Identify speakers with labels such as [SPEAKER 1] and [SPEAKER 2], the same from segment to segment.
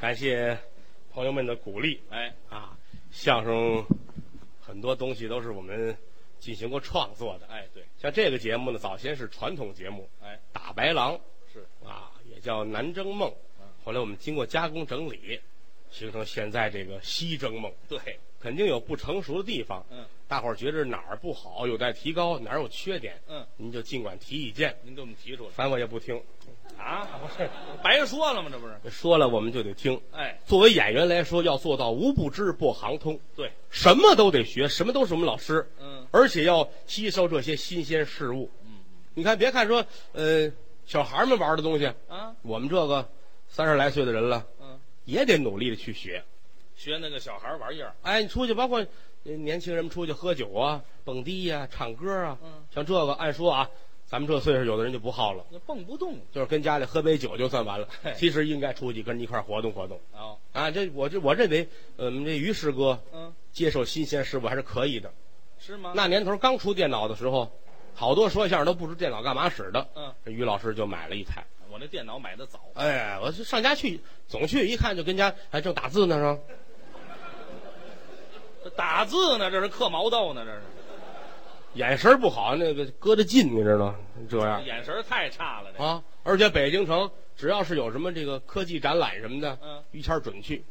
[SPEAKER 1] 感谢朋友们的鼓励
[SPEAKER 2] 哎，
[SPEAKER 1] 啊！相声很多东西都是我们进行过创作的，
[SPEAKER 2] 哎，对，
[SPEAKER 1] 像这个节目呢，早先是传统节目
[SPEAKER 2] 哎，
[SPEAKER 1] 《打白狼》
[SPEAKER 2] 是，
[SPEAKER 1] 啊，也叫《南征梦》
[SPEAKER 2] 嗯，
[SPEAKER 1] 后来我们经过加工整理，形成现在这个《西征梦》。
[SPEAKER 2] 对，
[SPEAKER 1] 肯定有不成熟的地方，
[SPEAKER 2] 嗯，
[SPEAKER 1] 大伙儿觉着哪儿不好，有待提高，哪儿有缺点，
[SPEAKER 2] 嗯，
[SPEAKER 1] 您就尽管提意见，
[SPEAKER 2] 您给我们提出来
[SPEAKER 1] 反正我也不听。
[SPEAKER 2] 啊，不是，白说了吗？这不是？
[SPEAKER 1] 说了我们就得听。
[SPEAKER 2] 哎，
[SPEAKER 1] 作为演员来说，要做到无不知、不行通，
[SPEAKER 2] 对，
[SPEAKER 1] 什么都得学，什么都是我们老师，
[SPEAKER 2] 嗯
[SPEAKER 1] 而且要吸收这些新鲜事物。
[SPEAKER 2] 嗯
[SPEAKER 1] 你看，别看说，呃，小孩儿们玩的东西，
[SPEAKER 2] 啊，
[SPEAKER 1] 我们这个三十来岁的人了，
[SPEAKER 2] 嗯，
[SPEAKER 1] 也得努力的去学。
[SPEAKER 2] 学那个小孩玩意儿，
[SPEAKER 1] 哎，你出去，包括呃年轻人们出去喝酒啊、蹦迪呀、唱歌啊，
[SPEAKER 2] 嗯
[SPEAKER 1] 像这个，按说啊，咱们这岁数，有的人就不好了，
[SPEAKER 2] 那蹦不动
[SPEAKER 1] 就是跟家里喝杯酒就算完了
[SPEAKER 2] 嘿。
[SPEAKER 1] 其实应该出去跟人一块儿活动活动
[SPEAKER 2] 啊，
[SPEAKER 1] 啊。这我这我认为，呃我们这于师哥
[SPEAKER 2] 嗯，
[SPEAKER 1] 接受新鲜事物还是可以的。
[SPEAKER 2] 是吗？
[SPEAKER 1] 哦那年头刚出电脑的时候，好多说相声都不知电脑干嘛使的，
[SPEAKER 2] 嗯，
[SPEAKER 1] 这于老师就买了一台。
[SPEAKER 2] 我那电脑买的早，
[SPEAKER 1] 哎，我是上家去，总去一看就跟家还正打字呢，是吧？
[SPEAKER 2] 这打字呢，这是刻毛豆呢，这是
[SPEAKER 1] 眼神不好，那个搁着劲，你知道吗？这样
[SPEAKER 2] 眼神太差了，这
[SPEAKER 1] 啊，而且北京城只要是有什么这个科技展览什么的，
[SPEAKER 2] 嗯，
[SPEAKER 1] 于谦儿准去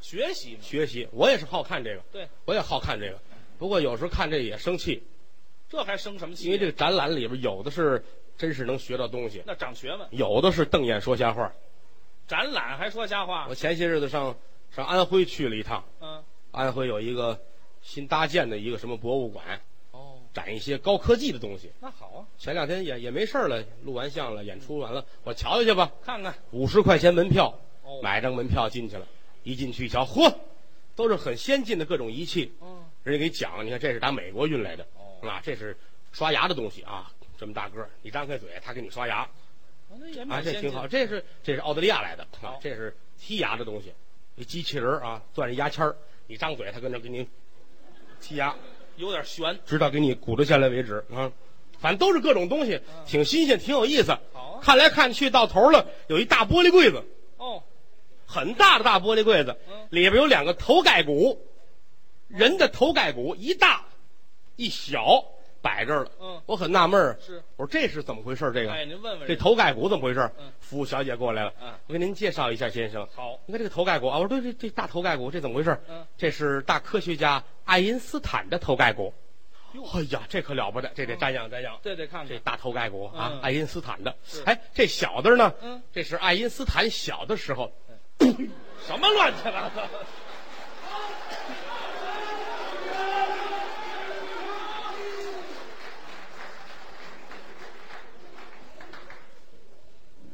[SPEAKER 2] 学习嘛，
[SPEAKER 1] 学习。我也是好看这个，
[SPEAKER 2] 对，
[SPEAKER 1] 我也好看这个，不过有时候看这也生气，
[SPEAKER 2] 这还生什么气？
[SPEAKER 1] 因为这个展览里边有的是真是能学到东西，
[SPEAKER 2] 那长学问，
[SPEAKER 1] 有的是瞪眼说瞎话。
[SPEAKER 2] 展览还说瞎话
[SPEAKER 1] 我，前些日子上上安徽去了一趟，
[SPEAKER 2] 嗯，
[SPEAKER 1] 安徽有一个新搭建的一个什么博物馆，
[SPEAKER 2] 哦，
[SPEAKER 1] 展一些高科技的东西。
[SPEAKER 2] 那好啊，
[SPEAKER 1] 前两天也也没事儿了，录完像了，演出完了，我瞧瞧去吧。
[SPEAKER 2] 看看，
[SPEAKER 1] 五十块钱门票，
[SPEAKER 2] 哦，，
[SPEAKER 1] 买张门票进去了。一进去一瞧，嚯，都是很先进的各种仪器。
[SPEAKER 2] 哦，
[SPEAKER 1] 人家给你讲，你看这是打美国运来的，
[SPEAKER 2] 哦，
[SPEAKER 1] 啊，这是刷牙的东西啊，这么大个儿，你张开嘴，他给你刷牙
[SPEAKER 2] 那也
[SPEAKER 1] 啊，
[SPEAKER 2] 蛮
[SPEAKER 1] 这
[SPEAKER 2] 先进
[SPEAKER 1] 挺好。，这是这是澳大利亚来的啊
[SPEAKER 2] 好，
[SPEAKER 1] 这是剔牙的东西，一机器人儿啊，攥着牙签儿，你张嘴，他跟着给你剔牙，
[SPEAKER 2] 有点悬，
[SPEAKER 1] 直到给你鼓捣下来为止啊。反正都是各种东西，
[SPEAKER 2] 嗯
[SPEAKER 1] 挺新鲜，挺有意思。
[SPEAKER 2] 好啊，
[SPEAKER 1] 看来看去到头了，有一大玻璃柜子，
[SPEAKER 2] 哦，
[SPEAKER 1] 很大的大玻璃柜子
[SPEAKER 2] 嗯，
[SPEAKER 1] 里边有两个头盖骨，人的头盖骨一大一小摆这儿了。
[SPEAKER 2] 嗯
[SPEAKER 1] 我很纳闷儿，
[SPEAKER 2] 是，
[SPEAKER 1] 我说这是怎么回事？这个
[SPEAKER 2] 哎，您问问
[SPEAKER 1] 这
[SPEAKER 2] 人家
[SPEAKER 1] 头盖骨怎么回事
[SPEAKER 2] 嗯？
[SPEAKER 1] 服务小姐过来了
[SPEAKER 2] 嗯，
[SPEAKER 1] 我给您介绍一下，先生。
[SPEAKER 2] 好，
[SPEAKER 1] 你看这个头盖骨啊，我说对，这这大头盖骨这怎么回事
[SPEAKER 2] 嗯？
[SPEAKER 1] 这是大科学家爱因斯坦的头盖骨
[SPEAKER 2] 哟。
[SPEAKER 1] 哎呀，这可了不得，这得瞻仰瞻仰。
[SPEAKER 2] 这得看
[SPEAKER 1] 这
[SPEAKER 2] 看，
[SPEAKER 1] 大头盖骨啊
[SPEAKER 2] 嗯，
[SPEAKER 1] 爱因斯坦的
[SPEAKER 2] 是。
[SPEAKER 1] 哎，这小的呢？
[SPEAKER 2] 嗯，
[SPEAKER 1] 这是爱因斯坦小的时候，
[SPEAKER 2] 什么乱七八糟，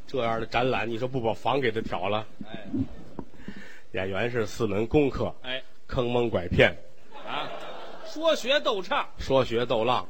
[SPEAKER 1] 这样的展览，你说不把房给他挑了？
[SPEAKER 2] 哎，
[SPEAKER 1] 演员是四门功课：
[SPEAKER 2] 哎，
[SPEAKER 1] 坑蒙拐骗、
[SPEAKER 2] 啊，说学逗唱，
[SPEAKER 1] 说学逗浪、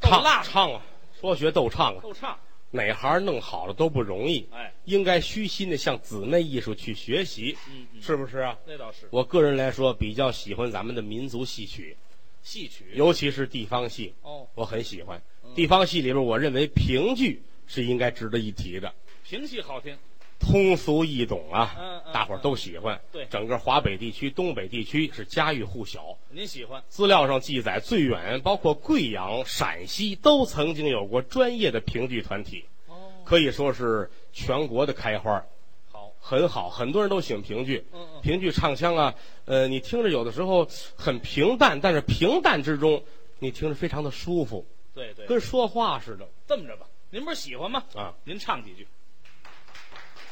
[SPEAKER 2] 逗
[SPEAKER 1] 唱
[SPEAKER 2] 浪
[SPEAKER 1] 唱啊，说学逗唱啊，
[SPEAKER 2] 逗唱，
[SPEAKER 1] 哪行弄好了都不容易。
[SPEAKER 2] 哎，
[SPEAKER 1] 应该虚心的向姊妹艺术去学习，
[SPEAKER 2] 嗯嗯，
[SPEAKER 1] 是不是啊？
[SPEAKER 2] 那倒是，
[SPEAKER 1] 我个人来说，比较喜欢咱们的民族戏曲，
[SPEAKER 2] 戏曲，
[SPEAKER 1] 尤其是地方戏，
[SPEAKER 2] 哦，
[SPEAKER 1] 我很喜欢。
[SPEAKER 2] 嗯
[SPEAKER 1] 地方戏里边，我认为评剧是应该值得一提的。
[SPEAKER 2] 评戏好听，
[SPEAKER 1] 通俗易懂啊，
[SPEAKER 2] 嗯嗯
[SPEAKER 1] 大伙儿都喜欢。
[SPEAKER 2] 对
[SPEAKER 1] 整个华北地区、东北地区是家喻户晓。
[SPEAKER 2] 您喜欢，
[SPEAKER 1] 资料上记载，最远包括贵阳、陕西都曾经有过专业的评剧团体，
[SPEAKER 2] 哦，
[SPEAKER 1] 可以说是全国的开花儿，
[SPEAKER 2] 好，
[SPEAKER 1] 很好。很多人都喜欢评剧，
[SPEAKER 2] 嗯嗯
[SPEAKER 1] 哦评剧唱腔啊，呃，你听着有的时候很平淡，但是平淡之中，你听着非常的舒服，
[SPEAKER 2] 对对，
[SPEAKER 1] 跟说话似的
[SPEAKER 2] 这么着吧，您不是喜欢吗？
[SPEAKER 1] 啊。
[SPEAKER 2] 您唱几句，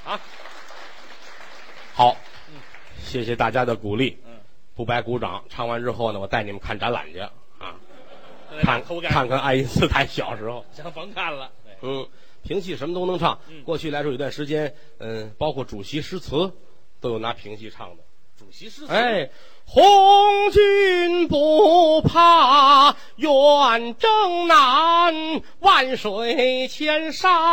[SPEAKER 2] 啊，
[SPEAKER 1] 好，谢谢大家的鼓励，
[SPEAKER 2] 嗯，
[SPEAKER 1] 不白鼓掌。唱完之后呢，我带你们看展览去啊，看
[SPEAKER 2] 看头盖
[SPEAKER 1] 看看爱因斯坦小时候。
[SPEAKER 2] 行，甭看了，哎对
[SPEAKER 1] 嗯，评戏什么都能唱。
[SPEAKER 2] 嗯
[SPEAKER 1] 过去来说有段时间，嗯，包括主席诗词，都有拿评戏唱的。
[SPEAKER 2] 主席诗词，，
[SPEAKER 1] 哎，红军不怕远征难，万水千山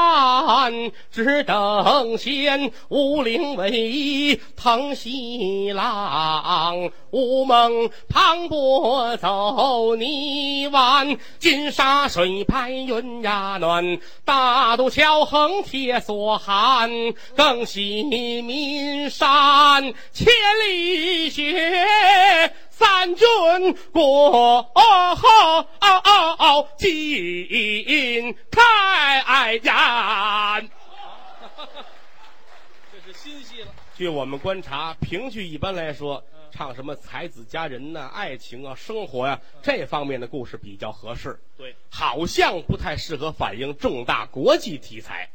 [SPEAKER 1] 只等闲。五岭逶迤腾西浪，吴梦磅礴走泥湾。金沙水拍云呀暖，大渡桥横铁索寒，更喜岷山千里雪。三军过后尽开宴。
[SPEAKER 2] 这是新戏了。
[SPEAKER 1] 据我们观察，评剧一般来说，唱什么才子佳人呐、爱情啊、生活呀、这方面的故事比较合适，
[SPEAKER 2] 对，
[SPEAKER 1] 好像不太适合反映重大国际题材。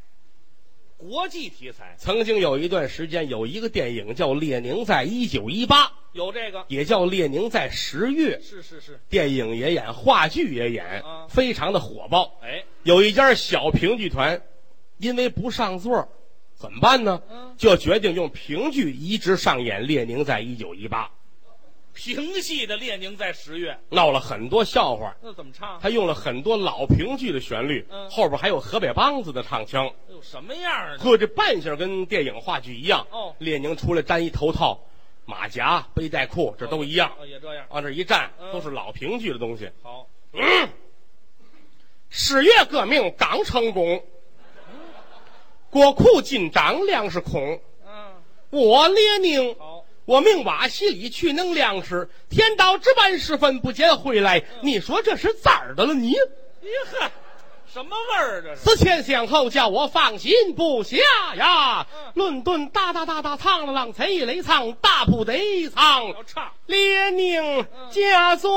[SPEAKER 2] 国际题材
[SPEAKER 1] 曾经有一段时间，有一个电影叫《列宁在一九一八》，
[SPEAKER 2] 有这个，
[SPEAKER 1] 也叫《列宁在十月》，
[SPEAKER 2] 是是是，
[SPEAKER 1] 电影也演，话剧也演
[SPEAKER 2] 啊，
[SPEAKER 1] 非常的火爆。
[SPEAKER 2] 哎，
[SPEAKER 1] 有一家小评剧团，因为不上座，怎么办呢
[SPEAKER 2] 嗯？
[SPEAKER 1] 就决定用评剧移植上演《列宁在一九一八》，
[SPEAKER 2] 评戏的《列宁在十月》，
[SPEAKER 1] 闹了很多笑话。
[SPEAKER 2] 那怎么唱？啊
[SPEAKER 1] 他用了很多老评剧的旋律，
[SPEAKER 2] 嗯
[SPEAKER 1] 后边还有河北梆子的唱腔，
[SPEAKER 2] 有哎什么样儿啊的？
[SPEAKER 1] 呵，这扮相跟电影话剧一样。
[SPEAKER 2] 哦
[SPEAKER 1] 列宁出来粘一头套、马甲、背带裤，这都一样。
[SPEAKER 2] 哦，也这样。
[SPEAKER 1] 往这一站，
[SPEAKER 2] 嗯
[SPEAKER 1] 都是老评剧的东西。
[SPEAKER 2] 好，
[SPEAKER 1] 十月革命刚成功，国库紧张，粮食空。
[SPEAKER 2] 嗯，
[SPEAKER 1] 我列宁，
[SPEAKER 2] 好，
[SPEAKER 1] 我命瓦西里去弄粮食，天到值班时分不见回
[SPEAKER 2] 嗯
[SPEAKER 1] 来，你说这是咋儿的了你？
[SPEAKER 2] 咦呵，什么味 儿这是？
[SPEAKER 1] 思前想后，叫我放心不下呀
[SPEAKER 2] 嗯。
[SPEAKER 1] 论顿大大大大唱了浪贼雷唱大不得唱。
[SPEAKER 2] 要唱，
[SPEAKER 1] 列宁家族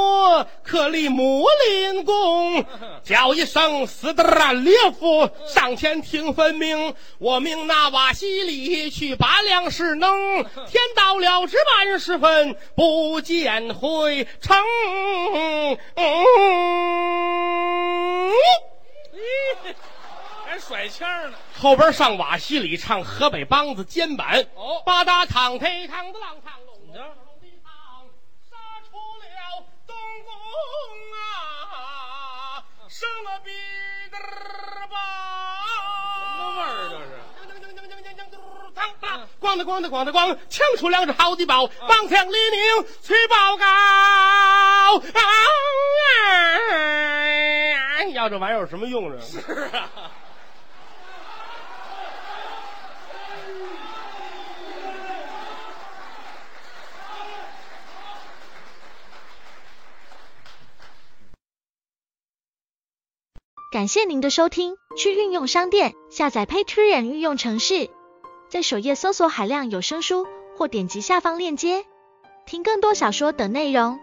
[SPEAKER 1] 克里姆林宫，叫一声斯德兰列夫，上前听分明。我命那瓦西里去拔粮食能，天到了值班时分不见回城。嗯
[SPEAKER 2] 咦，还甩腔儿呢。
[SPEAKER 1] 后边上瓦西里唱河北梆子肩板，
[SPEAKER 2] 哦
[SPEAKER 1] 吧嗒淌忒淌的浪淌隆隆
[SPEAKER 2] 怎么着
[SPEAKER 1] 隆的淌，杀出了东宫啊，生了逼的吧，
[SPEAKER 2] 什么味儿这是？
[SPEAKER 1] 咣当咣当咣当咣，抢出两只好的宝，王强李宁去报告。啊！要这玩意儿有什么用呢？
[SPEAKER 2] 是啊，
[SPEAKER 3] 感谢您的收听，去运用商店下载 Patreon 运用城市，在首页搜索海量有声书，或点击下方链接听更多小说等内容。